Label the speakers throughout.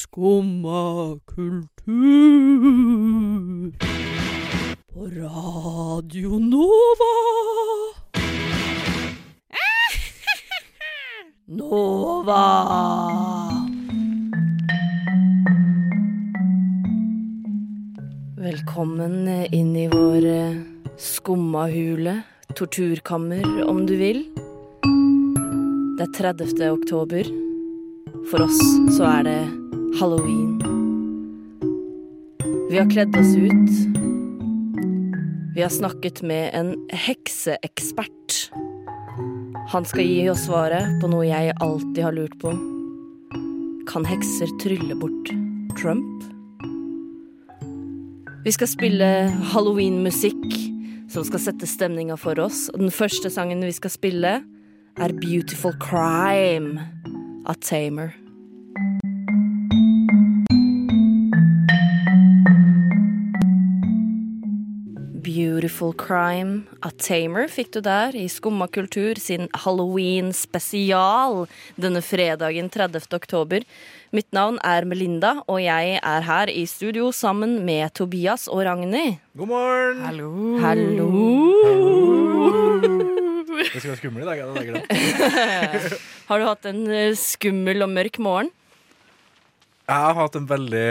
Speaker 1: Skumma kultur. På Radio Nova. Nova.
Speaker 2: Velkommen inn i vår eh, skummahule, torturkammer om du vil. Det er 30. oktober. For oss så er det halloween. Vi har kledd oss ut. Vi har snakket med en hekseekspert. Han skal gi oss svaret på noe jeg alltid har lurt på. Kan hekser trylle bort Trump? Vi skal spille halloween-musikk som skal sette stemninga for oss. Og den første sangen vi skal spille, er 'Beautiful Crime' av Tamer. Beautiful Crime av Tamer fikk du der i Skumma kultur sin halloween-spesial denne fredagen 30. oktober. Mitt navn er Melinda, og jeg er her i studio sammen med Tobias og Ragnhild.
Speaker 3: God morgen!
Speaker 2: Hallo!
Speaker 3: Det skal være skummel i dag. Jeg hadde glemt.
Speaker 2: Har du hatt en eh, skummel og mørk morgen?
Speaker 3: Jeg har hatt en veldig,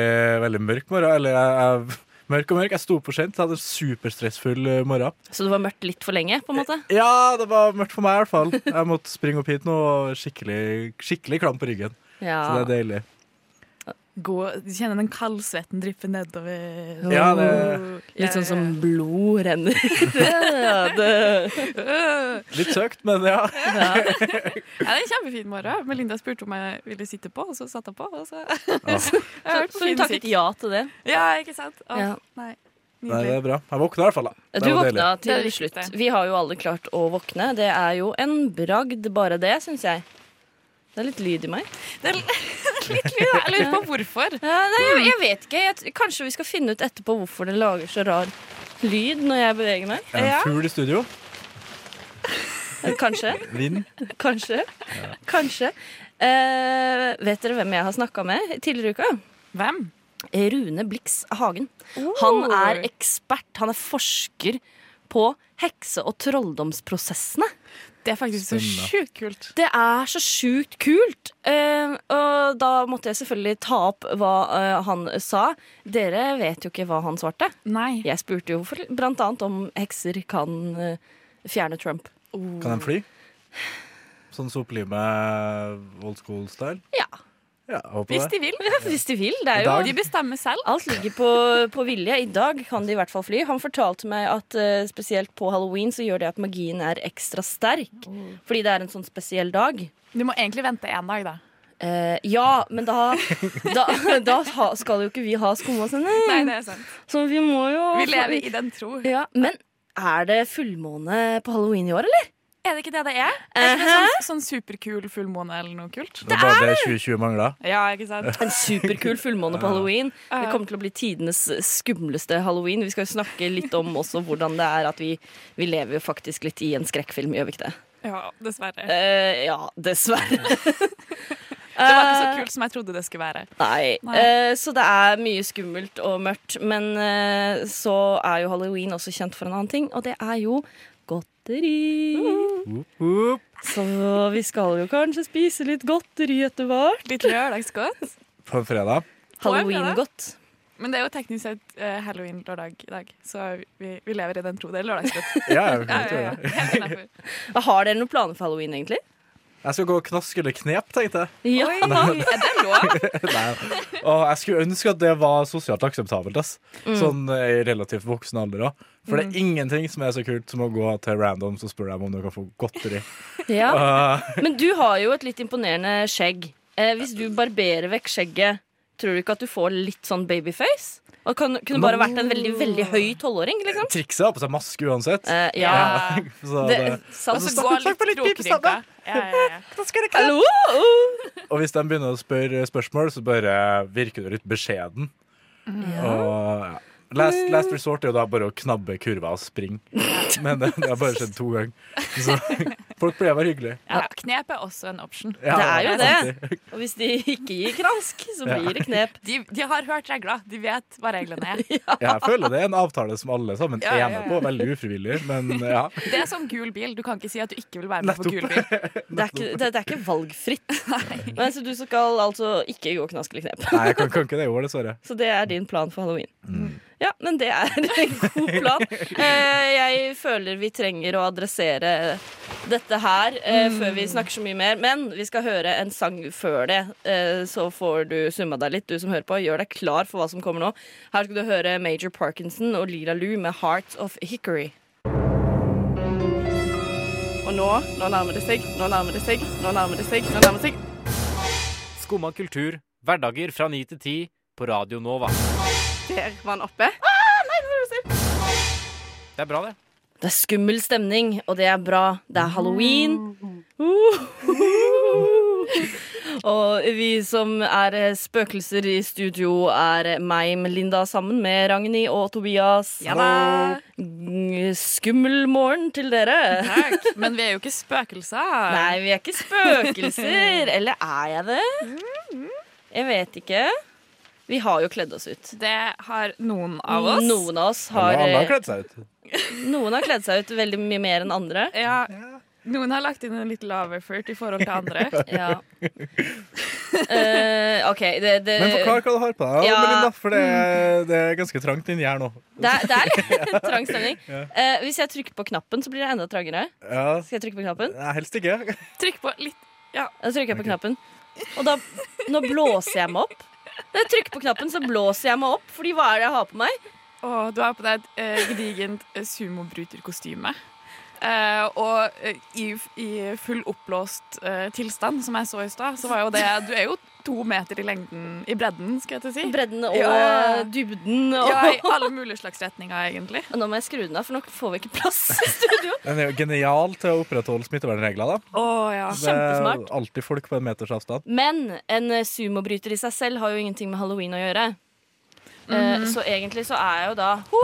Speaker 3: veldig mørk morgen. Eller jeg, jeg, mørk og mørk. Jeg sto opp for sent. Jeg hadde en superstressfull eh, morgen.
Speaker 2: Så det var mørkt litt for lenge, på en måte?
Speaker 3: Ja, det var mørkt for meg i hvert fall. Jeg måtte springe opp hit nå og skikkelig, skikkelig klam på ryggen. Så det
Speaker 2: Ja.
Speaker 3: er deilig.
Speaker 4: gå, kjenne den kaldsvetten dryppe nedover.
Speaker 3: Ja, det-
Speaker 2: Litt sånn som blod renner. ja, det.
Speaker 4: Øh,
Speaker 3: Litt søkt, men ja.
Speaker 2: Ja.
Speaker 4: ja, det er en kjempefin morgen. Melinda spurte om jeg ville sitte på, og så satt jeg på. Og så jeg
Speaker 2: Så,
Speaker 4: har hørt på
Speaker 2: så hun
Speaker 4: fin
Speaker 2: takket
Speaker 4: musikk.
Speaker 2: ja til det.
Speaker 4: Ja, ikke sant? Åh,
Speaker 2: Ja.
Speaker 4: Nei,
Speaker 3: Nei, det
Speaker 4: nydelig.
Speaker 3: er bra. Jeg våkna i hvert fall, da. Det
Speaker 2: Du
Speaker 3: var deilig.
Speaker 2: våkna
Speaker 4: Det er
Speaker 2: til
Speaker 4: det
Speaker 2: slutt.
Speaker 4: viktigste.
Speaker 2: Vi har jo alle klart å våkne. Det er jo en bragd, bare det, syns jeg. Det er litt lyd i meg.
Speaker 4: Det er l- litt lyd. da. Jeg lurer på hvorfor.
Speaker 2: Ja, nei, jeg, jeg vet ikke. Jeg, t- kanskje vi skal finne ut etterpå hvorfor det lager så rar lyd når jeg beveger meg.
Speaker 3: En
Speaker 4: Ja.
Speaker 3: fugl i studio.
Speaker 2: Eh, Kanskje.
Speaker 3: Vind.
Speaker 2: Kanskje. Kanskje. Eh, vet dere hvem jeg har snakka med tidligere i uka?
Speaker 4: Hvem?
Speaker 2: Rune Blix Hagen. Han er ekspert, han er forsker på hekse- og trolldomsprosessene.
Speaker 4: Det er faktisk så
Speaker 3: Spennende.
Speaker 4: sjukt kult.
Speaker 2: Det er så sjukt kult! Eh, og da måtte jeg selvfølgelig ta opp hva eh, han sa. Dere vet jo ikke hva han svarte.
Speaker 4: Nei.
Speaker 2: Jeg spurte jo for, blant annet om hekser kan eh, fjerne Trump.
Speaker 3: Kan den fly? Sånn sopelime old school-style?
Speaker 2: Ja,
Speaker 3: Ja, jeg håper
Speaker 4: Hvis
Speaker 3: det.
Speaker 4: de vil.
Speaker 2: hvis de vil. Det er jo
Speaker 3: I dag-
Speaker 4: De bestemmer selv.
Speaker 2: Alt ligger på, på vilje. I dag kan de i hvert fall fly. Han fortalte meg at eh, spesielt på halloween så gjør det at magien er ekstra sterk. Fordi det er en sånn spesiell dag.
Speaker 4: Du må egentlig vente én dag, da.
Speaker 2: Eh, ja, men da, da, da ha- skal jo ikke vi ha
Speaker 4: Nei,
Speaker 2: skummasene.
Speaker 4: det er sant.
Speaker 2: Så vi må jo
Speaker 4: Mm. Vi lever i den tro.
Speaker 2: ja, Men er det fullmåne på halloween i år, eller?
Speaker 4: Er det ikke det det er? Er det ikke sånn, sånn superkul fullmåne eller noe kult?
Speaker 3: Det var bare det 2020 mangla.
Speaker 4: Ja, ikke sant?
Speaker 2: En superkul fullmåne på halloween.
Speaker 4: Ja.
Speaker 2: Det kommer til å bli tidenes skumleste halloween. Vi skal jo snakke litt om også hvordan det er at vi, vi lever jo faktisk litt i en skrekkfilm, gjør vi ikke det?
Speaker 4: Ja, dessverre.
Speaker 2: Eh, ja, dessverre.
Speaker 4: Det var ikke så kult som jeg trodde det skulle være.
Speaker 2: Nei.
Speaker 4: Nei.
Speaker 2: Eh, så det er mye skummelt og mørkt. Men eh, så er jo halloween også kjent for en annen ting, og det er jo godteri.
Speaker 4: Mm.
Speaker 2: Så vi skal jo kanskje spise litt godteri etter hvert.
Speaker 4: Litt lørdagsgodt.
Speaker 3: På en fredag.
Speaker 4: Får jeg med
Speaker 2: Halloween-godt.
Speaker 4: Men det er jo teknisk sett eh, halloween-lørdag i dag, så vi, vi lever i den tro. Det er lørdagsgodt.
Speaker 3: Ja, jeg,
Speaker 4: Ja,
Speaker 3: vet
Speaker 4: ja, ja.
Speaker 3: det.
Speaker 4: Helt innafor.
Speaker 2: Har dere noen planer for halloween, egentlig?
Speaker 3: jeg skal gå og knaske eller knep, tenkte jeg.
Speaker 2: Ja.
Speaker 4: Oi, er det lov?
Speaker 3: Nei. Og jeg skulle ønske at det var sosialt akseptabelt. Ass.
Speaker 2: Mm.
Speaker 3: Sånn eh, i relativt voksen alder òg. For det er ingenting som er så kult som å gå til randoms og spørre dem om du kan få godteri.
Speaker 2: Mm. ja.
Speaker 3: Uh,
Speaker 2: Men du har jo et litt imponerende skjegg. Eh, hvis du barberer vekk skjegget, tror du ikke at du får litt sånn babyface? Og kan, kunne bare vært en veldig veldig høy tolvåring, liksom?
Speaker 3: trikset er på seg maske uansett.
Speaker 2: Eh, ja.
Speaker 4: Ja.
Speaker 3: Så
Speaker 2: Det,
Speaker 3: det,
Speaker 2: sant.
Speaker 4: Og så Altså, gå
Speaker 3: Takk for
Speaker 4: litt
Speaker 3: litt tips,
Speaker 4: krokrygga.
Speaker 3: Anna.
Speaker 4: Ja, ja, ja.
Speaker 2: Hallo!
Speaker 3: og hvis de begynner å spørre spørsmål, så bare virker du litt beskjeden. Og, ja. last, last resort er jo da bare å knabbe kurva og springe. Men det, det har bare skjedd to ganger. Så Folk pleier å være hyggelige.
Speaker 4: Ja, knep er også en option.
Speaker 3: Ja,
Speaker 2: Det er jo det.
Speaker 3: alltid.
Speaker 2: Og hvis de ikke gir kransk, så blir det knep.
Speaker 4: De, de har hørt regler. De vet hva reglene er.
Speaker 3: Jeg føler det er en avtale som alle sammen
Speaker 4: Ja, ja,
Speaker 3: er med
Speaker 4: ja.
Speaker 3: på. Veldig ufrivillig, men ja.
Speaker 4: Det er som gul bil. Du kan ikke si at du ikke vil være med på
Speaker 3: Nettopp.
Speaker 4: gul bil.
Speaker 2: Det er ikke, det, det er ikke valgfritt. Nei, så du skal altså ikke gå knask eller knep.
Speaker 3: Nei, jeg kan, kan ikke det i år, dessverre. Mm.
Speaker 2: Så det er din plan for halloween. Ja, men det er en god plan. Eh, jeg føler vi trenger å adressere dette her eh, før vi snakker så mye mer. Men vi skal høre en sang før det, eh, så får du summa deg litt, du som hører på. Gjør deg klar for hva som kommer nå. Her skal du høre Major Parkinson og Lila Lou med 'Heart of Hickory'. Og nå, nå nærmer det seg, nå nærmer det seg, nå nærmer det seg, nå nærmer det seg.
Speaker 5: Skumma kultur. Hverdager fra ni til ti på Radio Nova.
Speaker 2: Der var han oppe.
Speaker 5: Det er bra, det.
Speaker 2: Det er skummel stemning, og det er bra. Det er halloween.
Speaker 4: Mm.
Speaker 2: Uh. Og vi som er eh, spøkelser i studio, er meg, Melinda, sammen med Ragnhild og Tobias.
Speaker 4: Ja da.
Speaker 2: Mm, Skummel morgen til dere.
Speaker 4: Takk. Men vi er jo ikke spøkelser.
Speaker 2: Nei, vi er ikke spøkelser. Eller er jeg det? Jeg vet ikke. Vi har jo kledd oss ut.
Speaker 4: Det har noen av oss.
Speaker 2: Noen av oss har,
Speaker 3: Alle har
Speaker 2: eh,
Speaker 3: kledd seg ut.
Speaker 2: noen har kledd seg ut veldig mye mer enn andre.
Speaker 4: Ja, noen har lagt inn en litt lav effort i forhold til andre.
Speaker 2: Ja. Eh, OK, det, det,
Speaker 3: Men forklar hva du har på deg,
Speaker 2: Ja. Mm.
Speaker 3: Melinda, for det, det er ganske trangt inni her nå.
Speaker 2: det, er, det er litt trang stemning. Eh, hvis jeg trykker på knappen, så blir det enda trangere.
Speaker 3: Ja.
Speaker 2: Skal jeg trykke på knappen?
Speaker 3: Nei, helst ikke.
Speaker 4: Trykk på litt.
Speaker 2: Da trykker jeg på knappen. Og da Nå blåser jeg meg opp. Når jeg trykker på knappen, så blåser jeg meg opp, Fordi hva er det jeg har på meg?
Speaker 4: Å, du har på deg et eh, gedigent eh, sumobryterkostyme. Eh, og eh, i, i full oppblåst eh, tilstand, som jeg så i stad, så var jo det Du er jo to meter i lengden I bredden, skal jeg til å si.
Speaker 2: Bredden og
Speaker 4: Ja.
Speaker 2: dybden og
Speaker 4: Ja, i alle mulige slags retninger, egentlig.
Speaker 2: Nå må jeg skru den av, for nå får vi ikke plass i studio.
Speaker 3: Den er jo genial til å opprettholde smittevernregler. da.
Speaker 4: Å ja.
Speaker 2: Ah,
Speaker 3: Det er
Speaker 2: Kjempesmart.
Speaker 3: alltid folk på en meters avstand.
Speaker 2: Men en eh, sumobryter i seg selv har jo ingenting med halloween å gjøre.
Speaker 4: Mhm.
Speaker 2: Eh, Så egentlig så er jeg jo da «Ho,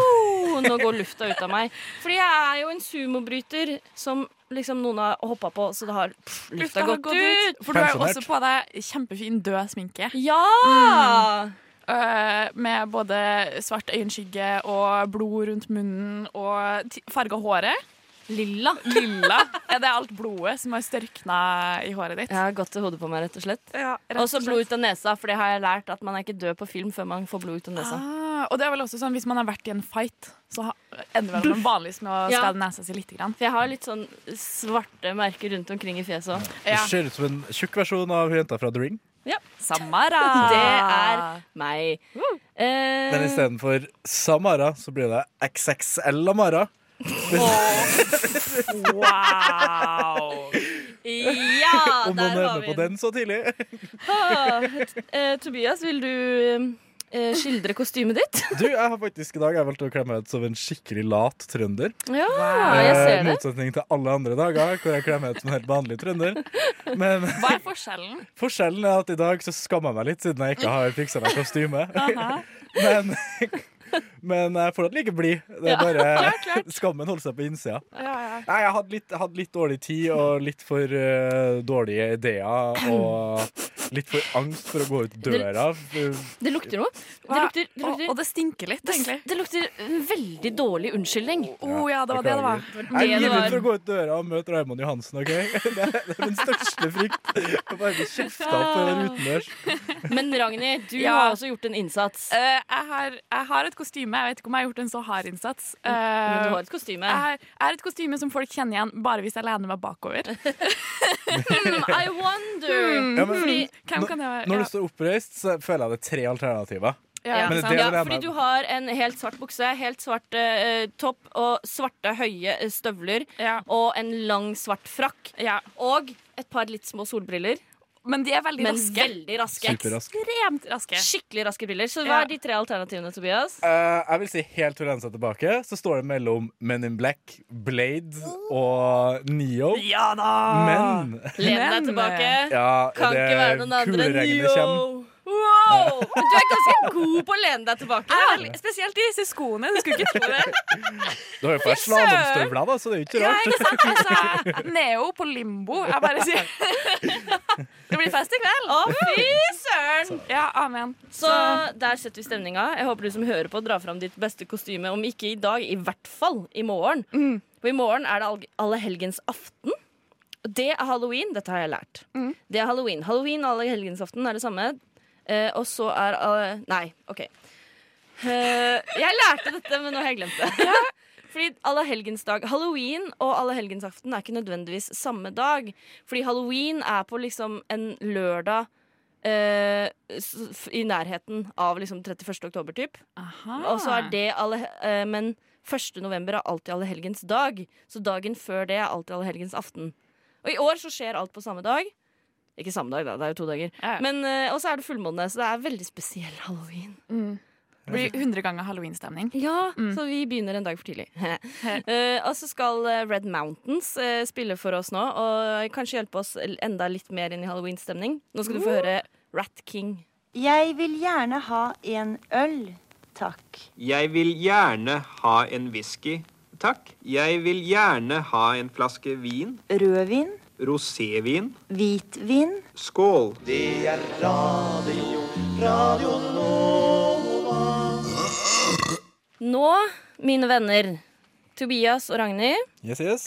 Speaker 2: Nå går lufta ut av meg. Fordi jeg er jo en sumobryter som liksom noen har hoppa på, så det har pff, lufta,
Speaker 4: Lufta har gått ut. For du har jo
Speaker 3: Pensjonert.
Speaker 4: også på deg kjempefin død sminke.
Speaker 2: Ja!
Speaker 4: Eh, med både svart øyenskygge og blod rundt munnen og ti- farga håret.
Speaker 2: Lilla.
Speaker 4: Lilla. Er det alt blodet som har størkna i håret ditt?
Speaker 2: Jeg har gått til hodet på meg, rett og slett.
Speaker 4: Ja, rett
Speaker 2: Og så
Speaker 4: slett.
Speaker 2: blod ut av nesa, for det har jeg lært at man er ikke død på film før man får blod ut av nesa.
Speaker 4: Ah, og det er vel også sånn hvis man har vært i en fight, så ha- ender vel man vanligvis med å
Speaker 2: Ja.
Speaker 4: skade nesa si litt. Grann.
Speaker 2: For jeg har litt sånn svarte merker rundt omkring i fjeset òg.
Speaker 3: Det
Speaker 4: Ja.
Speaker 3: ser ut som en tjukk versjon av hun jenta fra The Ring.
Speaker 4: Samara!
Speaker 2: Det er meg. Eh,
Speaker 3: Men istedenfor Samara, så blir det XXL Amara.
Speaker 4: Wow!
Speaker 2: ja,
Speaker 3: Om
Speaker 2: der
Speaker 3: noen
Speaker 2: var
Speaker 3: hører
Speaker 2: vi
Speaker 3: på den så tidlig.
Speaker 2: Ah, eh, Tobias, vil du eh, skildre kostymet ditt?
Speaker 3: Du, jeg har faktisk i dag jeg valgt å kle meg ut som en skikkelig lat trønder.
Speaker 2: Ja, jeg
Speaker 3: Eh,
Speaker 2: ser det.
Speaker 3: motsetning til alle andre dager hvor jeg kler meg ut som en helt vanlig trønder. Men
Speaker 4: Hva er forskjellen?
Speaker 3: Forskjellen er at i dag så skammer jeg meg litt, siden jeg ikke har fiksa meg kostyme.
Speaker 4: Aha.
Speaker 3: Men, men jeg er fortsatt like blid. Det er
Speaker 4: Klart,
Speaker 3: bare
Speaker 4: klart.
Speaker 3: skammen holder seg på innsida.
Speaker 4: Ja, ja.
Speaker 3: Nei, jeg hadde litt, jeg hadde litt dårlig tid og litt for eh, dårlige ideer og litt for angst for å gå ut døra.
Speaker 2: Det lukter noe. Det lukter, det
Speaker 4: Og, og
Speaker 2: lukter,
Speaker 4: det stinker litt, egentlig.
Speaker 2: det lukter en veldig dårlig unnskyldning.
Speaker 4: Å ja, det var det det var.
Speaker 3: Jeg
Speaker 2: Det
Speaker 3: er livredd
Speaker 2: var-
Speaker 3: for å gå ut døra og møte Raymond Johansen, OK? Det er, det er min største frykt. Å bare bli kjefta på en utendørs.
Speaker 2: Men Ragnhild, du
Speaker 4: Ja.
Speaker 2: har også gjort en innsats.
Speaker 4: Eh, jeg, har, jeg har et kostyme. Jeg vet ikke om jeg har gjort en så hard innsats. Eh,
Speaker 2: Mm. Men du har et kostyme.
Speaker 4: jeg, har, jeg har et kostyme som folk kjenner igjen bare hvis jeg lener meg bakover.
Speaker 2: Hmm, I wonder.
Speaker 3: Ja, men-
Speaker 2: Fordi,
Speaker 4: Hvem kan det være?
Speaker 3: Når du står oppreist, så føler jeg det er tre alternativer.
Speaker 4: ja,
Speaker 2: ja,
Speaker 3: men
Speaker 4: ikke
Speaker 3: det-
Speaker 4: sant?
Speaker 2: ja, fordi du har en helt svart bukse, helt svart eh, topp og svarte høye eh, støvler
Speaker 4: Ja.
Speaker 2: og en lang svart frakk.
Speaker 4: Ja.
Speaker 2: Og et par litt små solbriller,
Speaker 4: Men de er veldig
Speaker 2: men
Speaker 4: raske.
Speaker 2: veldig raske.
Speaker 3: Superrask.
Speaker 4: Ekstremt raske.
Speaker 2: Skikkelig raske briller. Så hva
Speaker 4: Ja.
Speaker 2: er de tre alternativene, Tobias?
Speaker 3: Eh, jeg vil si helt for å lene seg tilbake, så står det mellom Men in Black, Blade og Neo.
Speaker 4: Ja da!
Speaker 3: Men
Speaker 2: Len deg
Speaker 4: Men, eh,
Speaker 2: tilbake.
Speaker 3: ja,
Speaker 2: Kan
Speaker 3: det
Speaker 2: ikke være noen andre enn
Speaker 3: kuleregnet
Speaker 2: Neo.
Speaker 3: kommer.
Speaker 2: Wow! Wow! Du er ganske god på å lene deg tilbake.
Speaker 4: Jeg er
Speaker 2: da.
Speaker 4: veldig- Spesielt i disse skoene. Du skulle ikke tro det.
Speaker 3: Du har jo på deg
Speaker 4: Fy søren!
Speaker 3: slalåmstøvler, da, så det er jo ikke
Speaker 4: Ja,
Speaker 3: rart.
Speaker 4: ikke sant? Altså, Neo på limbo. Jeg bare sier Det blir fest i kveld.
Speaker 2: Å, fy søren!
Speaker 4: Ja, amen.
Speaker 2: Så der setter vi stemninga. Jeg håper du som hører på, drar fram ditt beste kostyme. Om ikke i dag, i hvert fall i morgen.
Speaker 4: Mm.
Speaker 2: For i morgen er det allg- allehelgens aften. Og Det er halloween. Dette har jeg lært.
Speaker 4: Mm.
Speaker 2: Det er halloween. Halloween og allehelgensaften er det samme. Eh, og så er alle- Nei, OK. Eh, jeg lærte dette, men nå har jeg glemt det. Fordi allehelgensdag Halloween og allehelgensaften er ikke nødvendigvis samme dag. Fordi halloween er på liksom en lørdag eh, s- f- i nærheten av liksom 31. oktober, typ.
Speaker 4: Aha.
Speaker 2: Og så er det alle, eh, Men 1. november er alltid allehelgens dag. Så dagen før det er alltid allehelgens aften. Og i år så skjer alt på samme dag. Ikke samme dag, da. Det er jo to dager.
Speaker 4: Ja.
Speaker 2: Men, eh, og så er det fullmåne, så det er veldig spesiell halloween.
Speaker 4: Mm. Det blir 100 ganger halloweenstemning.
Speaker 2: Ja, Så vi begynner en dag for tidlig. Eh, og så skal eh, Red Mountains eh, spille for oss nå, og kanskje hjelpe oss enda litt mer inn i halloweenstemning. Nå skal du få høre Rat King.
Speaker 6: Jeg vil gjerne ha en øl, takk.
Speaker 7: Jeg vil gjerne ha en whisky, takk. Jeg vil gjerne ha en flaske vin,
Speaker 6: Rødvin,
Speaker 7: rosévin,
Speaker 6: hvitvin.
Speaker 7: skål.
Speaker 2: Nå, mine venner, Tobias og Ragnhild
Speaker 3: Yes, yes.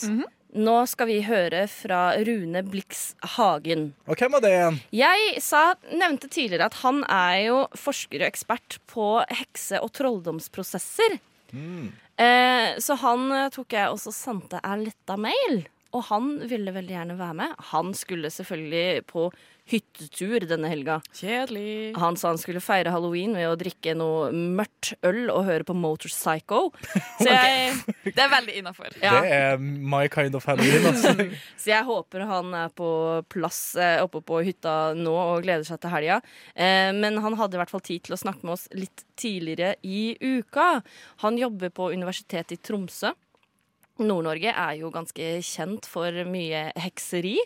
Speaker 2: Nå skal vi høre fra Rune Blix Hagen.
Speaker 3: Og hvem var det igjen?
Speaker 2: Jeg sa, nevnte tidligere at han er jo forsker og ekspert på hekse- og trolldomsprosesser. Eh, så han eh, tok jeg også sendte ei lita mail, og han ville veldig gjerne være med. Han skulle selvfølgelig på hyttetur denne helga.
Speaker 4: Kjedelig.
Speaker 2: Han sa han skulle feire halloween ved å drikke noe mørkt øl og høre på Motorpsycho. Så jeg,
Speaker 4: Det er veldig innafor.
Speaker 2: ja.
Speaker 3: Det er my kind of halloween. Altså.
Speaker 2: Så jeg håper han er på plass eh, oppe på hytta nå og gleder seg til helga. Eh, men han hadde i hvert fall tid til å snakke med oss litt tidligere i uka. Han jobber på Universitetet i Tromsø. Nord-Norge er jo ganske kjent for mye hekseri.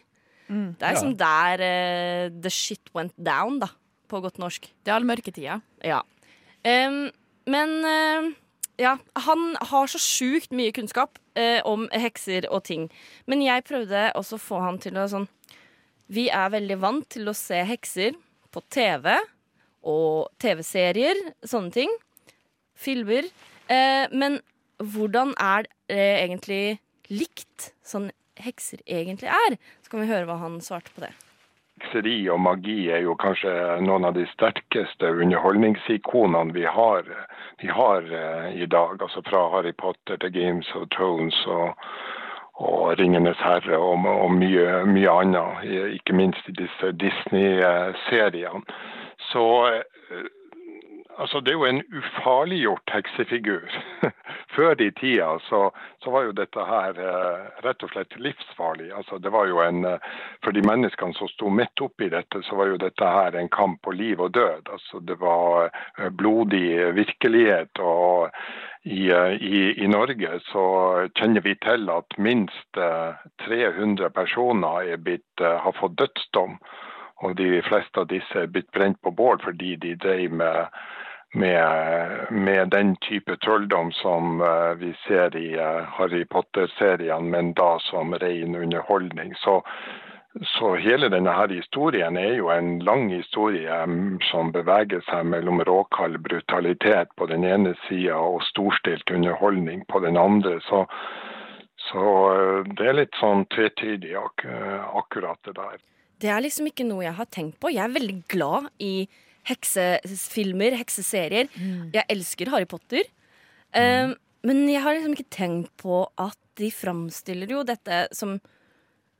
Speaker 2: Det er
Speaker 3: Ja.
Speaker 2: liksom der eh, the shit went down, da, på godt norsk.
Speaker 4: Det er all mørketida.
Speaker 2: Ja. Em, men eh, ja, han har så sjukt mye kunnskap eh, om hekser og ting. Men jeg prøvde også å få han til å sånn Vi er veldig vant til å se hekser på TV og TV-serier, sånne ting. Filmer. Eh, men hvordan er det egentlig likt sånn hekser egentlig er? Så kan vi høre hva han svarte på det.
Speaker 8: hekseri og magi er jo kanskje noen av de sterkeste underholdningsikonene vi har, vi har eh, i dag. Altså fra Harry Potter til Games of Thrones og, og Ringenes herre og, og mye, mye annet. i- Ikke minst i disse Disney-seriene. Så eh, Altså, det er jo en ufarliggjort heksefigur. Før i tida så, så var jo dette her eh, rett og slett livsfarlig. Altså, det var jo en, eh, for de menneskene som sto midt oppi dette, så var jo dette her en kamp på liv og død. Altså, det var eh, blodig virkelighet. og i, eh, i, I Norge så kjenner vi til at minst eh, 300 personer er blitt, eh, har fått dødsdom. Og de fleste av disse er blitt brent på bål fordi de drev med, med, med den type trolldom som eh, vi ser i eh, Harry Potter-serien, men da som ren underholdning. Så, så hele denne her historien er jo en lang historie mm, som beveger seg mellom råkald brutalitet på den ene sida og storstilt underholdning på den andre. Så, så eh, det er litt sånn tvetydig ak eh, akkurat det der.
Speaker 2: Det er liksom ikke noe jeg har tenkt på. Jeg er veldig glad i heksefilmer, hekseserier. Jeg elsker Harry Potter. Um, men jeg har liksom ikke tenkt på at de framstiller jo dette som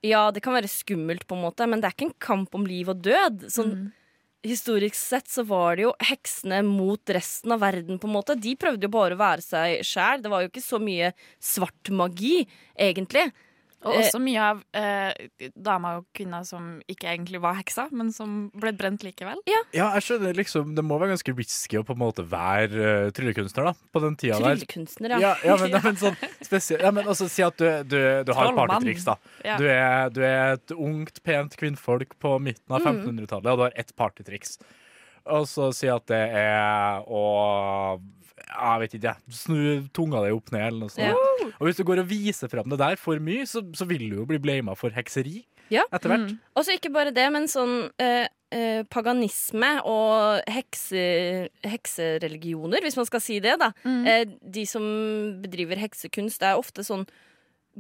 Speaker 2: Ja, det kan være skummelt, på en måte, men det er ikke en kamp om liv og død. Sånn, Historisk sett så var det jo heksene mot resten av verden, på en måte. De prøvde jo bare å være seg sjæl. Det var jo ikke så mye svart magi, egentlig.
Speaker 4: Og også mye av eh, damer og kvinner som ikke egentlig var heksa, men som ble brent likevel.
Speaker 3: Ja, jeg skjønner liksom Det må være ganske risky å på en måte være eh, tryllekunstner da på den tida der.
Speaker 2: Tryllekunstnere,
Speaker 3: Ja,
Speaker 2: ja.
Speaker 3: ja, men, ja, men sånn spesielt Ja, men altså, si at du, du, du har et
Speaker 4: Trollmann.
Speaker 3: partytriks, da.
Speaker 4: Ja.
Speaker 3: Du er,
Speaker 2: Mm.
Speaker 3: du er et ungt, pent kvinnfolk på midten av 1500-tallet, og du har ett partytriks. og så si at det er å Jeg vet ikke, jeg. Snu tunga di opp ned, eller noe sånt.
Speaker 2: Ja.
Speaker 3: Og hvis du går og viser fram det der for mye, så, så vil du jo bli blama for hekseri
Speaker 2: Ja. Mm.
Speaker 3: etter hvert.
Speaker 2: Og så ikke bare det, men sånn eh, eh, paganisme og hekse, heksereligioner, hvis man skal si det, da.
Speaker 4: Mm.
Speaker 2: Eh, de som bedriver heksekunst, det er ofte sånn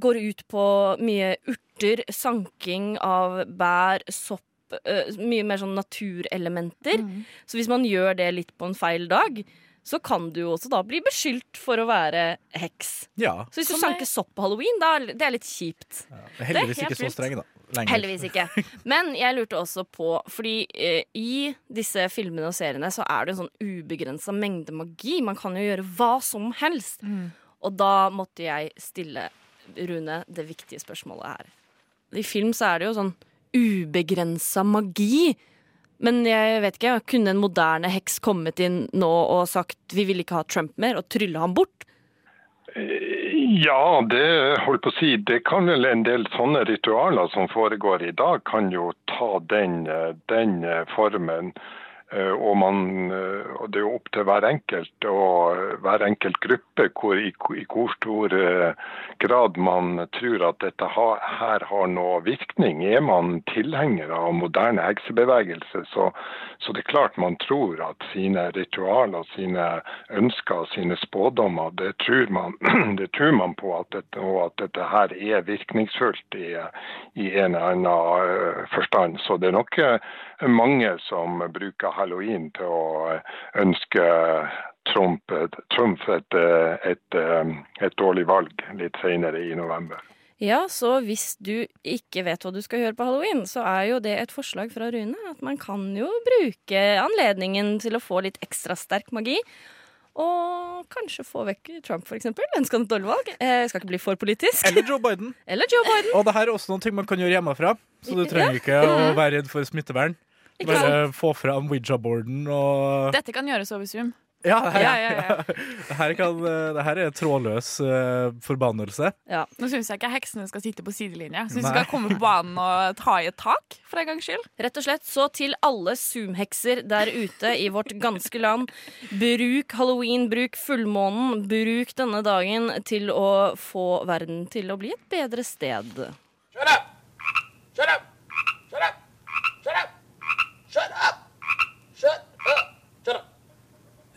Speaker 2: Går ut på mye urter, sanking av bær, sopp. eh, Mye mer sånn naturelementer.
Speaker 4: Mm.
Speaker 2: Så hvis man gjør det litt på en feil dag, så kan du jo også da bli beskyldt for å være heks.
Speaker 3: Ja.
Speaker 2: Så hvis du
Speaker 4: Som er-
Speaker 2: sanker sopp på halloween, da er det er litt kjipt.
Speaker 3: Heldigvis
Speaker 4: helt
Speaker 3: ikke så
Speaker 4: vilt.
Speaker 3: streng, da. Lenger.
Speaker 2: Heldigvis ikke. Men jeg lurte også på, fordi eh, i disse filmene og seriene så er det en sånn ubegrensa mengde magi. Man kan jo gjøre hva som helst. Og da måtte jeg stille Rune det viktige spørsmålet her. I film så er det jo sånn ubegrensa magi. Men jeg vet ikke, kunne en moderne heks kommet inn nå og sagt vi vil ikke ha Trump mer, og trylle ham bort?
Speaker 8: Ja, det holdt på å si. Det kan vel en del sånne ritualer som foregår i dag, kan jo ta den, eh, den eh, formen. Eh, Og, man, eh, og det er jo opp til hver enkelt og eh, hver enkelt gruppe hvor, i, i hvor stor eh, grad man tror at dette ha, her har noe virkning. Er man tilhenger av moderne heksebevegelse, så, så det er klart man tror at sine ritualer, sine ønsker og sine spådommer, det tror man, det tror man på at dette, og at dette her er virkningsfullt i, i en eller annen eh, forstand. Så det er nok eh, mange som bruker halloween til å øh, ønske Trump, Trump et, eh, et, eh, et dårlig valg litt senere i november.
Speaker 2: Ja, så hvis du ikke vet hva du skal gjøre på halloween, så er jo det et forslag fra Rune. At man kan jo bruke anledningen til å få litt ekstra sterk magi. Og kanskje få vekk Trump, for eksempel. Ønsker han et dårlig valg? Eh, skal ikke bli for politisk.
Speaker 3: Eller Joe Biden.
Speaker 2: Eller Joe Biden.
Speaker 3: Og det her er også noen ting man kan gjøre hjemmefra, så du trenger ikke å være redd for smittevern.
Speaker 2: Ikke sant?
Speaker 3: Bare få fram Ouija-boarden og
Speaker 4: Dette kan gjøres over Zoom.
Speaker 3: Ja, det her,
Speaker 4: Ja, ja, ja.
Speaker 3: det her, kan, eh, det her er trådløs eh, forbannelse.
Speaker 2: Ja.
Speaker 4: Nå syns jeg ikke heksene skal sitte på sidelinja. Syns
Speaker 3: Nei.
Speaker 4: de skal komme på banen og ta i et tak, for en gangs skyld.
Speaker 2: Rett og slett, så til alle zoom-hekser der ute i vårt ganske land. Bruk halloween, bruk fullmånen. Bruk denne dagen til å få verden til å bli et bedre sted.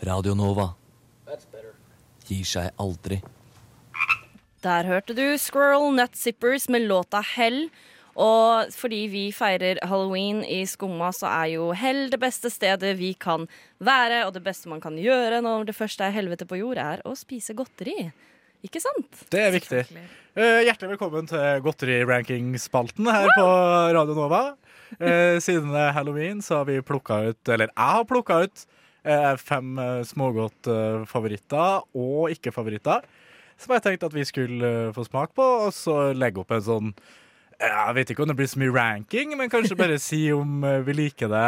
Speaker 9: Radio Nova gir seg aldri.
Speaker 2: Der hørte du Squirrel Nut Zippers med låta Hell. Og fordi vi feirer halloween i Skumma, så er jo hell det beste stedet vi kan være. Og det beste man kan gjøre når det første er helvete på jord, er å spise godteri. Ikke sant?
Speaker 3: Det er viktig. Eh, hjertelig velkommen til godteriranking-spalten her på Radio Nova. Eh, siden det er halloween, så har vi plukka ut Eller jeg har plukka ut eh, fem eh, smågodtfavoritter og ikke-favoritter. Som jeg tenkte at vi skulle eh, få smak på, og så legge opp en sånn eh, Jeg vet ikke om det blir så mye ranking, men kanskje bare si om eh, vi liker det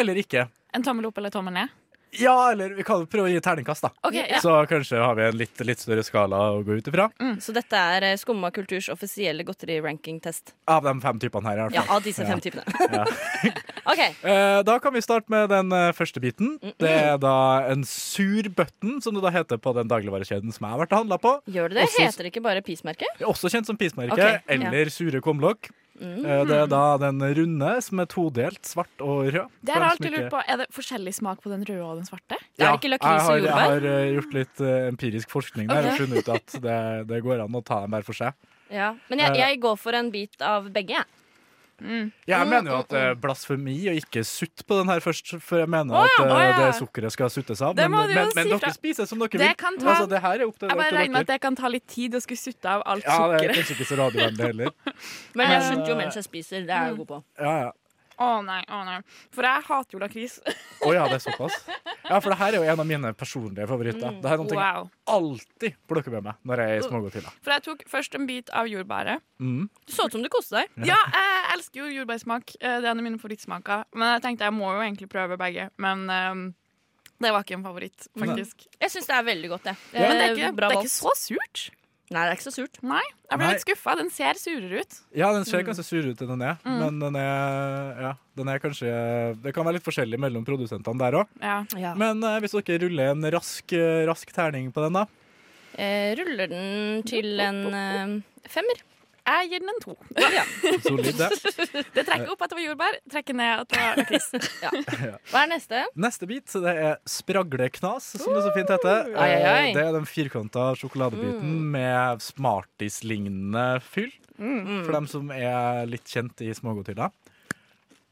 Speaker 3: eller ikke.
Speaker 4: En tommel opp eller tommel ned.
Speaker 3: Ja, eller vi kan jo prøve å gi terningkast, da.
Speaker 4: Ok, ja.
Speaker 3: Så kanskje har vi en litt, litt større skala å gå ut ifra.
Speaker 2: Så dette er eh, Skumma kulturs offisielle godteriranking-test.
Speaker 3: Av de fem typene her, i hvert
Speaker 2: Ja,
Speaker 3: fall.
Speaker 2: av disse fem typene. OK.
Speaker 3: Eh, Da kan vi starte med den eh, første biten. Det er da en sur button, som det da heter på den dagligvarekjeden som jeg har vært og handla på.
Speaker 2: Gjør det det?
Speaker 3: Også-
Speaker 2: Heter det ikke bare pismerke?
Speaker 3: Også kjent som pismerke
Speaker 2: Ok, ja.
Speaker 3: eller sure kumlokk. Eh, Det er da den runde som er todelt, svart og rød.
Speaker 4: Det har jeg alltid lurt på. Er det forskjellig smak på den røde og den svarte?
Speaker 2: Er det ikke lakris og
Speaker 3: Jeg
Speaker 2: jordbær?
Speaker 3: har eh, gjort litt eh, empirisk forskning der og funnet ut at det, det går an å ta dem hver for seg.
Speaker 2: Ja. Men jeg, jeg går for en bit av begge, jeg.
Speaker 3: Jeg mener jo at det er blasfemi å ikke sutte på den her først, for jeg mener at
Speaker 4: å
Speaker 3: eh,
Speaker 4: ja.
Speaker 3: det sukkeret skal suttes av.
Speaker 4: Det
Speaker 3: Men,
Speaker 4: må du jo
Speaker 3: men, men
Speaker 4: si
Speaker 3: dere
Speaker 4: fra-
Speaker 3: spiser som dere
Speaker 4: Det
Speaker 3: vil.
Speaker 4: kan ta-
Speaker 3: altså, det her er opp til
Speaker 4: Jeg bare
Speaker 3: opp til
Speaker 4: regner med at det kan ta litt tid å skulle sutte av alt
Speaker 3: Ja, det er
Speaker 4: sukkeret.
Speaker 3: kanskje ikke så radiovennlig heller.
Speaker 2: Men jeg skjønte jo mens jeg spiser. Det er jeg god på.
Speaker 3: Ja, ja.
Speaker 4: Å nei, å nei. For jeg hater jo lakris.
Speaker 3: Å ja, det er såpass. Ja, for det her er jo en av mine personlige favoritter. Det her er noe jeg
Speaker 4: Mm, Wow.
Speaker 3: alltid plukker med meg når jeg er i smågodthylla.
Speaker 4: For jeg tok først en bit av jordbæret.
Speaker 2: Du så ut som du koste deg.
Speaker 4: Ja, jeg elsker jo jordbærsmak. Eh, Det er en av mine favorittsmaker. Men jeg tenkte jeg må jo egentlig prøve begge. Men ehm, det var ikke en favoritt, faktisk.
Speaker 2: Jeg syns det er veldig godt, jeg.
Speaker 4: Men det er, ikke,
Speaker 2: Bra
Speaker 4: det er
Speaker 2: valg.
Speaker 4: ikke så surt.
Speaker 2: Nei, det er ikke så surt.
Speaker 4: Nei, jeg ble
Speaker 3: Nei.
Speaker 4: litt skuffa. Den ser surere ut.
Speaker 3: Ja, den
Speaker 4: Mm.
Speaker 3: ser ganske sur ut, den er. Men den er, ja, den er kanskje Det kan være litt forskjellig mellom produsentene der òg.
Speaker 4: Ja.
Speaker 2: Ja.
Speaker 3: Men eh, hvis dere ruller en rask, eh, rask terning på den, da.
Speaker 2: Eh, ruller den til en eh, femmer.
Speaker 4: Jeg gir den en to.
Speaker 3: Solid, det.
Speaker 4: Det trekker opp at det var jordbær, trekker ned at det var lakris.
Speaker 2: Hva er neste?
Speaker 3: Neste bit det er spragleknas, som det så fint heter.
Speaker 2: Ai, ai, ai. Mm.
Speaker 3: Eh, Det er den firkanta sjokoladebiten med Smarties-lignende fyll.
Speaker 2: mm.
Speaker 3: For dem som er litt kjent i smågodthylla.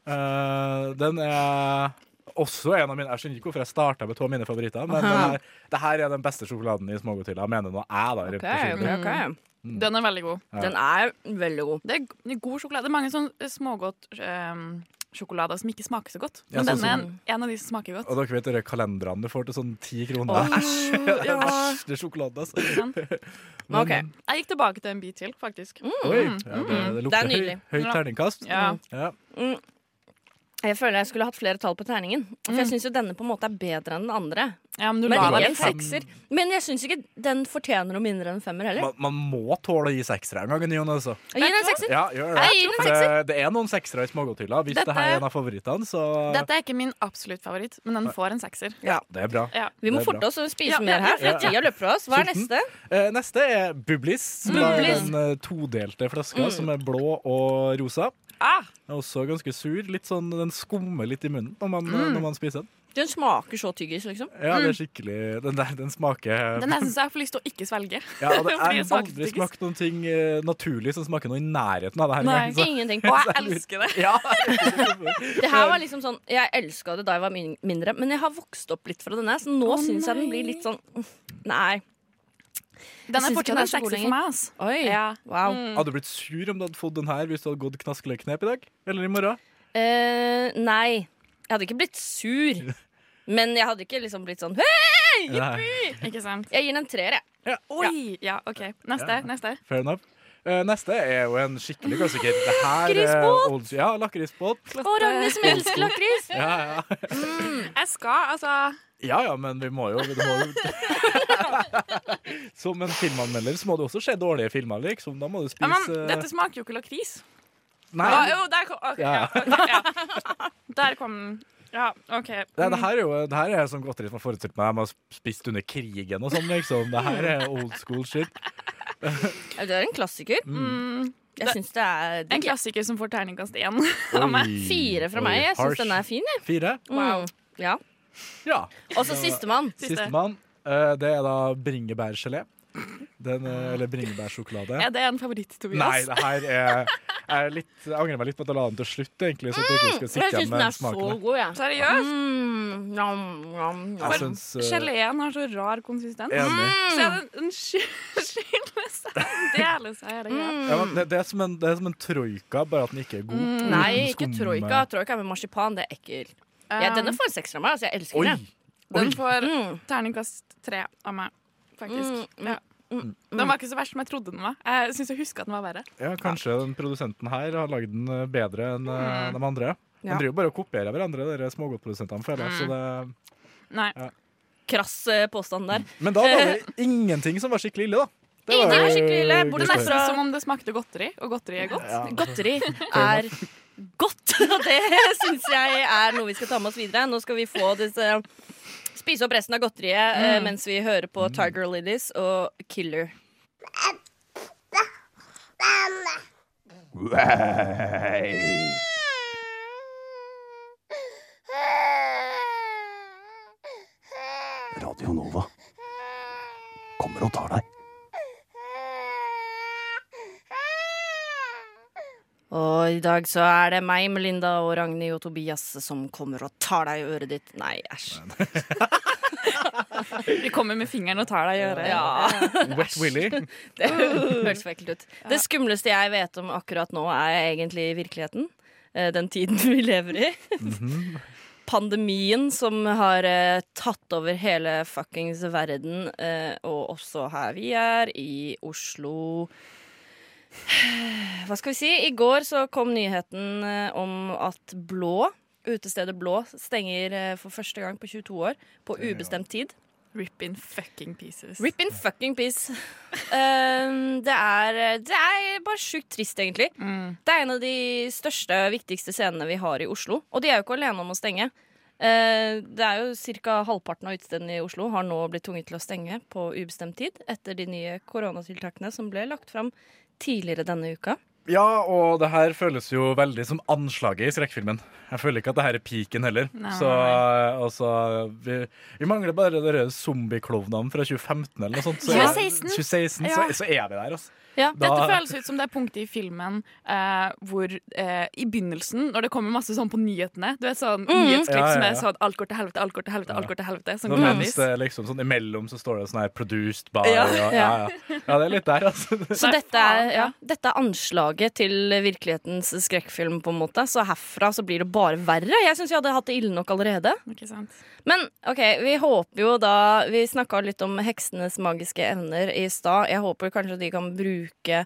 Speaker 3: Eh, den er også en av mine Jeg skjønner ikke hvorfor jeg starta med to av mine favoritter, men den er, det her er den beste sjokoladen i smågodthylla, mener nå jeg, da. rent
Speaker 2: Ok,
Speaker 4: Mm.
Speaker 2: ok,
Speaker 3: personlig.
Speaker 2: ok.
Speaker 3: Mm.
Speaker 4: Den er veldig god.
Speaker 2: Den er veldig god.
Speaker 4: Det er g- god sjokolade. Det er mange sånne smågodt ehm, sjokolader som ikke smaker så godt.
Speaker 3: Ja,
Speaker 4: Men
Speaker 3: sånn
Speaker 4: denne er en, en av de som smaker godt.
Speaker 3: Og dere vet de kalenderne du får til sånn ti kroner? Æsj! Det er verste sjokoladen, altså.
Speaker 4: Sånn.
Speaker 2: Men ok,
Speaker 4: Jeg gikk tilbake til en bit til, faktisk.
Speaker 3: Oi, ja, det, det
Speaker 2: Mm, Det er
Speaker 3: lukter høy,
Speaker 2: nydelig.
Speaker 3: høyt terningkast.
Speaker 4: Ja.
Speaker 3: Ja.
Speaker 2: Jeg føler jeg skulle hatt flere tall på terningen. For jeg syns jo denne på en måte er bedre enn den andre.
Speaker 4: Ja, Mm. men liksom- du
Speaker 2: Men
Speaker 4: la
Speaker 2: ikke
Speaker 4: deg
Speaker 2: en
Speaker 4: litt.
Speaker 2: sekser. Men jeg syns ikke den fortjener noe mindre enn en femmer heller.
Speaker 3: Man, man må tåle å gi seksere en gang, Jon. Altså.
Speaker 2: Gi den en sekser.
Speaker 3: Ja, gjør det.
Speaker 2: Jeg gir den en
Speaker 3: det,
Speaker 2: sekser.
Speaker 3: det er noen seksere i smågodthylla. Hvis
Speaker 4: Dette-
Speaker 3: det her er en av favorittene, så
Speaker 4: Dette er ikke min absolutt favoritt, men den får en sekser.
Speaker 3: Det er bra.
Speaker 4: Ja.
Speaker 2: Vi må
Speaker 3: Det er bra.
Speaker 2: forte oss å spise
Speaker 4: Ja,
Speaker 2: mer
Speaker 4: ja,
Speaker 2: her, for
Speaker 3: ja,
Speaker 2: tida løper fra oss. Hva er
Speaker 3: Sulten.
Speaker 2: neste?
Speaker 3: Eh, neste er Bublis. som er
Speaker 4: Bublis. Mm.
Speaker 3: Den eh, todelte flaska som er blå og rosa.
Speaker 4: Ah,
Speaker 3: Den er også ganske sur. Litt sånn, den skummer litt i munnen når man,
Speaker 4: Mm.
Speaker 3: når man spiser den.
Speaker 2: Den smaker så tyggis, liksom.
Speaker 3: Ja, det er skikkelig Den der, den smaker
Speaker 4: den jeg syns jeg får lyst til å ikke svelge.
Speaker 3: ja, og det,
Speaker 4: fordi
Speaker 3: Jeg
Speaker 4: det
Speaker 3: har
Speaker 4: smaker
Speaker 3: aldri
Speaker 4: tyggis.
Speaker 3: smakt noen ting eh, naturlig som smaker noe i nærheten av det her.
Speaker 4: Nei.
Speaker 3: engang, så-
Speaker 2: Ingenting.
Speaker 4: Og jeg elsker det.
Speaker 3: Ja.
Speaker 2: Det her var liksom sånn Jeg elska det da jeg var min mindre, men jeg har vokst opp litt fra denne, så nå
Speaker 4: Å,
Speaker 2: syns jeg den
Speaker 4: nei.
Speaker 2: blir litt sånn Nei. Jeg
Speaker 4: Den er
Speaker 2: synes ikke
Speaker 4: fortsatt
Speaker 2: den er
Speaker 4: en
Speaker 2: så god
Speaker 4: sekser
Speaker 2: lenger.
Speaker 4: for meg. altså. ass.
Speaker 2: Oi. Mm.
Speaker 4: Ja.
Speaker 2: Wow.
Speaker 4: Mm.
Speaker 3: Hadde du blitt sur om du hadde fått den her hvis du hadde gått knaskeløkknep i dag? Eller i morgen?
Speaker 2: Eh, nei. Jeg hadde ikke blitt sur. Men jeg hadde ikke liksom blitt sånn Hei!
Speaker 3: Nei.
Speaker 4: Ikke sant?
Speaker 2: Jeg gir den en treer, jeg.
Speaker 4: Oi! Ja, OK. Neste. neste
Speaker 3: Fair enough. Eh, neste er jo en skikkelig klassiker. Det her er
Speaker 2: Lakrisbåt!
Speaker 3: old- Ja, lakrisbåt.
Speaker 2: Å, Ragnhild som elsker lakris.
Speaker 3: Ja ja.
Speaker 4: Jeg skal, altså
Speaker 3: ja ja, men vi må jo, vi må jo. Som en filmanmelder så må du også se dårlige filmer, liksom. Da må du
Speaker 4: ja,
Speaker 3: spise
Speaker 4: men,
Speaker 3: eh,
Speaker 4: Dette smaker jo ikke lakris.
Speaker 3: Nei,
Speaker 4: Ah, jo, der kom, ok,
Speaker 3: Ja.
Speaker 4: ja, ok, ja. Der kom den. Ja, OK.
Speaker 3: det, det her er jo det her er sånn godteri som har forestilt meg de har spist under krigen og sånn, liksom. Det her er old school shit.
Speaker 2: Ja, Det er en klassiker. Jeg syns Mm. det er
Speaker 4: Mm. En
Speaker 2: digg. jeg.
Speaker 4: klassiker som får terningkast én.
Speaker 3: Oi,
Speaker 2: Fire fra
Speaker 3: oi,
Speaker 2: meg. Jeg
Speaker 3: harsh.
Speaker 2: syns den er fin, jeg.
Speaker 3: Fire?
Speaker 2: Wow. Mm. Ja.
Speaker 3: Ja.
Speaker 2: Og så sistemann.
Speaker 4: Siste.
Speaker 3: Sistemann, eh, det er da bringebærgelé. Den, eh, eller bringebærsjokolade.
Speaker 4: Er det en favoritt,
Speaker 3: Nei,
Speaker 4: Tobias?
Speaker 3: det her er, jeg er litt, jeg angrer meg litt på at jeg la den til slutt, egentlig. Så at jeg ikke skal
Speaker 2: Mm, Jeg
Speaker 3: sitte
Speaker 2: syns
Speaker 3: igjen
Speaker 2: den
Speaker 3: med
Speaker 2: er så
Speaker 3: smaken.
Speaker 2: god, jeg. Altså,
Speaker 4: Seriøst?
Speaker 2: Mm, nam, nam, nam.
Speaker 3: Jeg syns eh,
Speaker 4: Geleen har så rar konsistens.
Speaker 3: Enig.
Speaker 4: Se, den, den sky- skyller seg. Den deler seg. hele
Speaker 2: Mm.
Speaker 4: greia.
Speaker 3: Ja, men det, det, er som en, det er som en troika, bare at den ikke er god. Den
Speaker 2: Nei, ikke
Speaker 3: skummer.
Speaker 2: troika. Troika er med marsipan. Det er ekkelt. Ja, denne får en sekser av meg. Altså, jeg elsker
Speaker 3: Oi!
Speaker 2: den.
Speaker 4: Den får
Speaker 2: Mm.
Speaker 4: terningkast tre av meg, faktisk.
Speaker 2: Mm, mm,
Speaker 4: Ja. Den var ikke så verst som jeg trodde den var. Jeg syns jeg husker at den var verre.
Speaker 3: Ja, kanskje den produsenten her har lagd den eh, bedre enn eh, de andre. De
Speaker 2: Mm. Ja. Mm.
Speaker 3: driver bare og kopierer hverandre, dere smågodtprodusentene, føler jeg. Så det...
Speaker 4: Nei.
Speaker 2: Krass eh, påstand der.
Speaker 3: Men da var det ingenting som var skikkelig ille, da. Det var
Speaker 2: Ingenting
Speaker 3: jo
Speaker 2: var skikkelig ille,
Speaker 3: gøy
Speaker 2: bortsett
Speaker 4: Det er
Speaker 3: å
Speaker 4: nesten
Speaker 3: høre.
Speaker 4: som om det smakte godteri, og godteri er godt.
Speaker 2: Godteri er godt, og det syns jeg er noe vi skal ta med oss videre. Nå skal vi få disse Spise opp resten av godteriet eh, mens vi hører på
Speaker 3: Mm.
Speaker 2: Tiger Lilies og Killer.
Speaker 10: Radio Nova kommer og tar deg.
Speaker 2: Og i dag så er det meg, Melinda og Ragnhild og Tobias som kommer og tar deg i øret ditt. Nei, æsj.
Speaker 4: Vi kommer med fingeren og tar deg i øret.
Speaker 2: Ja.
Speaker 3: Wet Willy.
Speaker 2: Det høres for ekkelt ut. Det skumleste jeg vet om akkurat nå, er egentlig virkeligheten. Eh, Den tiden vi lever i. Pandemien som har eh, tatt over hele fuckings verden, eh, og også her vi er, i Oslo. Hva skal vi si? I går så kom nyheten eh, om at Blå, utestedet Blå, stenger eh, for første gang på 22 år på ubestemt tid.
Speaker 4: Rip in fucking pieces.
Speaker 2: Rip in fucking peace. Um, det, er, det er bare sjukt trist, egentlig. Det er en av de største, viktigste scenene vi har i Oslo. Og de er jo ikke alene om å stenge. Eh, det er jo Ca. halvparten av utestedene i Oslo har nå blitt tvunget til å stenge på ubestemt tid etter de nye koronatiltakene som ble lagt fram tidligere denne uka.
Speaker 3: Ja, og det her føles jo veldig som anslaget i skrekkfilmen. Jeg føler ikke at det her er piken heller.
Speaker 4: Nei,
Speaker 3: så altså vi, vi mangler bare de der zombieklovnene fra 2015 eller noe sånt. Så,
Speaker 4: 2016.
Speaker 3: 2016, så,
Speaker 4: Ja.
Speaker 3: så er vi der, altså.
Speaker 4: Ja,
Speaker 3: Da-
Speaker 4: Dette føles ut som det punktet i filmen eh, hvor eh, i begynnelsen, når det kommer masse sånn på nyhetene Du vet sånn
Speaker 2: Mm.
Speaker 4: nyhetsklipp
Speaker 3: Ja, ja,
Speaker 4: som
Speaker 3: ja.
Speaker 4: er sånn alt går til helvete, alt går til helvete, alt går til helvete. Sånn
Speaker 3: Nå mens
Speaker 4: gradvis.
Speaker 3: det liksom sånn imellom så står det sånn her 'produced by'
Speaker 4: Ja.
Speaker 3: og, ja, ja. ja, det er litt der, altså.
Speaker 2: Så dette er, ja, dette er anslaget til virkelighetens skrekkfilm, på en måte. Så herfra så blir det bare verre. Jeg syns vi hadde hatt det ille nok allerede.
Speaker 4: Ikke sant?
Speaker 2: Men OK, vi håper jo da Vi snakka litt om heksenes magiske evner i stad. Jeg håper kanskje de kan bruke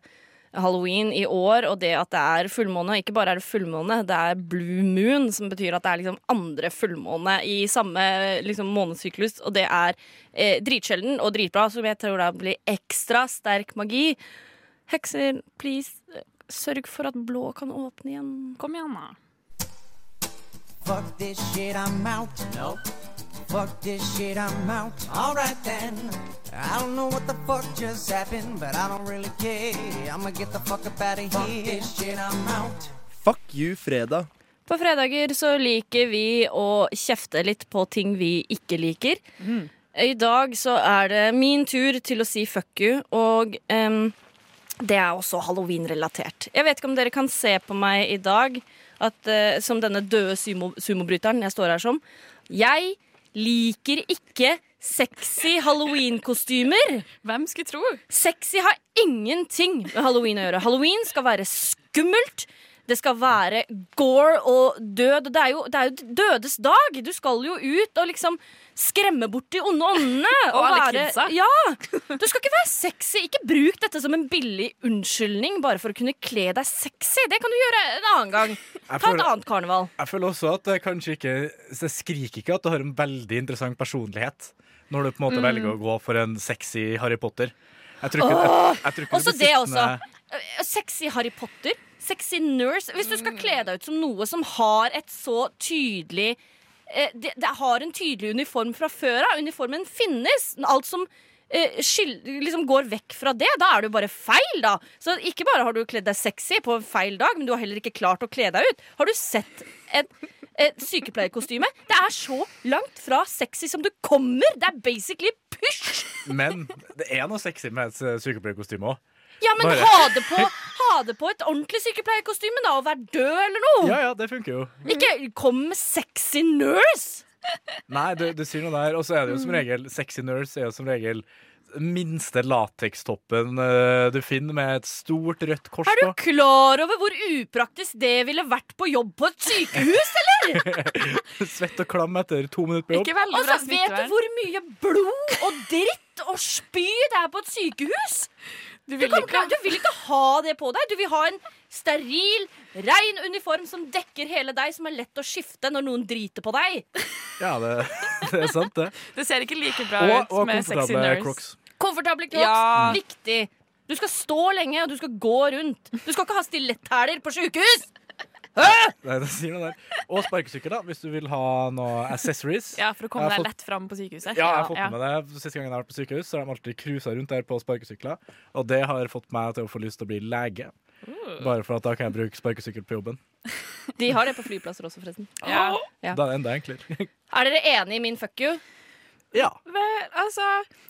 Speaker 2: halloween i år, og det at det er fullmåne. Og ikke bare er det fullmåne, det er blue moon, som betyr at det er liksom andre fullmåne i samme liksom, månedssyklus. Og det er eh, dritsjelden og dritbra, som jeg tror da blir ekstra sterk magi. Hekser, please, eh, sørg for at blå kan åpne igjen.
Speaker 4: Kom igjen, da.
Speaker 11: Fuck this shit, I'm out. Nope. Fuck this shit, I'm out. Alright then. I don't know what the fuck just happened, but I don't really care. I'ma get the fuck up out of here. Fuck this shit, I'm out.
Speaker 12: Fuck you, fredag.
Speaker 2: På fredager så liker vi å kjefte litt på ting vi ikke liker. I dag så er det min tur til å si fuck you, og em, det er også halloween-relatert. Jeg vet ikke om dere kan se på meg i dag at, eh, som denne døde sumo sumobryteren jeg står her som. Jeg liker ikke sexy halloween-kostymer.
Speaker 4: Hvem skulle tro?
Speaker 2: Sexy har ingenting med halloween å gjøre. Halloween skal være skummelt. Det skal være gore og død. Det er jo, det er jo dødes dag. Du skal jo ut og liksom skremme bort de onde åndene.
Speaker 4: Og alle
Speaker 2: være-
Speaker 4: kidsa.
Speaker 2: Ja. Du skal ikke være sexy. Ikke bruk dette som en billig unnskyldning bare for å kunne kle deg sexy. Det kan du gjøre en annen gang. Ta et
Speaker 3: føler-
Speaker 2: annet karneval.
Speaker 3: Jeg føler også at det kanskje ikke Det skriker ikke at du har en veldig interessant personlighet når du på en måte
Speaker 2: Mm.
Speaker 3: velger å gå for en sexy Harry Potter. Jeg tror ikke, jeg, jeg tror ikke du
Speaker 2: Også
Speaker 3: blir
Speaker 2: det også.
Speaker 3: sittende-
Speaker 2: Eh, Sexy Harry Potter, sexy nurse. Hvis du skal kle deg ut som noe som har et så tydelig eh, det, det har en tydelig uniform fra før av. Uniformen finnes. Alt som eh, skyld, liksom går vekk fra det, da er det jo bare feil, da. Så ikke bare har du kledd deg sexy på en feil dag, men du har heller ikke klart å kle deg ut. Har du sett et, et sykepleierkostyme? Det er så langt fra sexy som du kommer! Det er basically pysj!
Speaker 3: Men det er noe sexy med et eh, sykepleierkostyme òg.
Speaker 2: Ja, men
Speaker 3: Bare-
Speaker 2: ha det, på, ha det på et ordentlig sykepleierkostyme, da, og vær død eller noe!
Speaker 3: Ja, ja, det funker jo.
Speaker 2: Ikke kom med sexy nurse!
Speaker 3: Nei, du, du sier noe der. Og så er det jo
Speaker 4: Mm.
Speaker 3: som regel sexy nurse er jo som regel minste latekstoppen eh, du finner med et stort rødt kors
Speaker 2: Er du
Speaker 3: på.
Speaker 2: klar over hvor upraktisk det ville vært på jobb på et sykehus, eller?!
Speaker 3: Svett og klam etter to minutter på jobb.
Speaker 2: Og så Altså, vet du hvor mye blod og dritt og spy det er på et sykehus! Du
Speaker 4: vil
Speaker 2: kan
Speaker 4: ikke-
Speaker 2: klare- du vil ikke ha det på deg. Du vil ha en steril, rein uniform som dekker hele deg, som er lett å skifte når noen driter på deg.
Speaker 3: Ja, det, det er sant, det.
Speaker 4: Det ser ikke like bra
Speaker 3: Og,
Speaker 4: ut
Speaker 3: og
Speaker 4: med sexy
Speaker 3: komfortable
Speaker 4: nurse.
Speaker 3: crocs.
Speaker 2: Komfortable crocs.
Speaker 4: Ja.
Speaker 2: Viktig. Du skal stå lenge, og du skal gå rundt. Du skal ikke ha stiletthæler på sjukehus!
Speaker 3: Nei, det sier noe der. Og sparkesykkel, da, hvis du vil ha noe accessories.
Speaker 4: Ja, for å komme
Speaker 3: Jeg har
Speaker 4: deg
Speaker 3: fått-
Speaker 4: lett fram på sykehuset.
Speaker 3: Ja, jeg har fått med det Siste gangen jeg har vært på sykehus, Så har de alltid cruisa rundt der på sparkesykler. Og det har fått meg til å få lyst til å bli lege. Bare for at da kan jeg bruke sparkesykkel på jobben.
Speaker 2: De har det på flyplasser også, forresten. Ja.
Speaker 3: Da er det enda enklere.
Speaker 2: Er dere enig i min fuck you?
Speaker 3: Ja.
Speaker 4: Vel, altså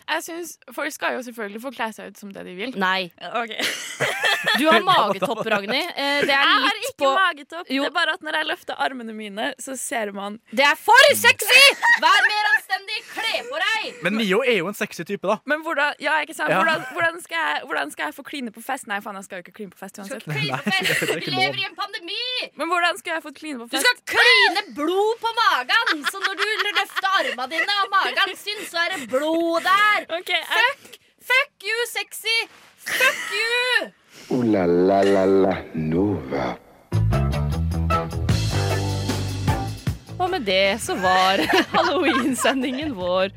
Speaker 4: jeg synes, Folk skal jo selvfølgelig få kle seg ut som det de vil.
Speaker 2: Nei.
Speaker 4: Ok
Speaker 2: Du har magetopp, Ragni. Eh, Det er
Speaker 4: jeg har
Speaker 2: litt
Speaker 4: ikke
Speaker 2: på
Speaker 4: magetopp.
Speaker 2: Jo.
Speaker 4: Det er bare at når jeg løfter armene mine, så ser man
Speaker 2: Det er for sexy! Vær mer anstendig! Kle på deg!
Speaker 3: Men Mio er jo en sexy type, da.
Speaker 4: Men hvordan, ja, ikke sant?
Speaker 3: Ja.
Speaker 4: Hvordan, hvordan, skal jeg, hvordan skal jeg få kline på fest? Nei, faen, jeg skal jo ikke kline på fest uansett.
Speaker 3: Nei, det er ikke lov.
Speaker 2: i en pandemi!
Speaker 4: Men hvordan skal jeg få kline på
Speaker 2: Du
Speaker 4: fest?
Speaker 2: skal kline blod på magen, så når du løfter armene dine og magen syns, så er det blod der. Fuck! Fuck you, sexy! Fuck you!
Speaker 13: Ooh la la la la Nova.
Speaker 2: Og med det så var halloween-sendingen vår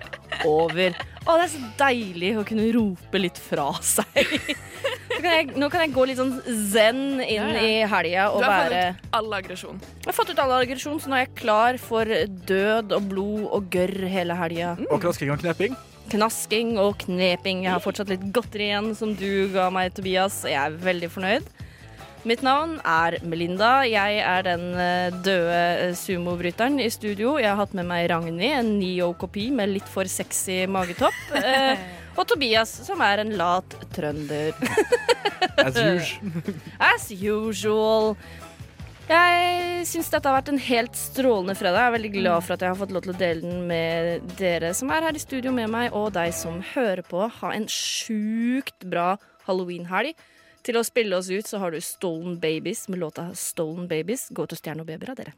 Speaker 2: over. Å, det er så deilig å kunne rope litt fra seg. Så kan jeg, nå kan jeg gå litt sånn zen inn
Speaker 4: Ja, ja.
Speaker 2: i helga og
Speaker 4: Du har
Speaker 2: være
Speaker 4: fått ut all aggresjon.
Speaker 2: Jeg har fått ut all aggresjon, så nå er jeg klar for død og blod og gørr hele helga.
Speaker 3: Og knasking og kneping.
Speaker 2: Knasking og kneping. Jeg har fortsatt litt godteri igjen, som du ga meg, Tobias. Jeg er veldig fornøyd. Mitt navn er Melinda. Jeg er den eh, døde eh, sumobryteren i studio. Jeg har hatt med meg Ragnhild, en Neo-kopi med litt for sexy magetopp. eh, Og Tobias, som er en lat trønder.
Speaker 3: As usual.
Speaker 2: As usual. Jeg syns dette har vært en helt strålende fredag. Jeg er veldig glad for at jeg har fått lov til å dele den med dere som er her i studio med meg, og deg som hører på. Ha en sjukt bra halloweenhelg. Til å spille oss ut så har du Stolen Babies med låta Stolen Babies. Gå til Stjerne og Babyer av dere.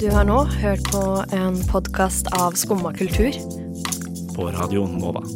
Speaker 12: Du har nå hørt på en podkast av Skumma kultur.
Speaker 14: På Radio Nova.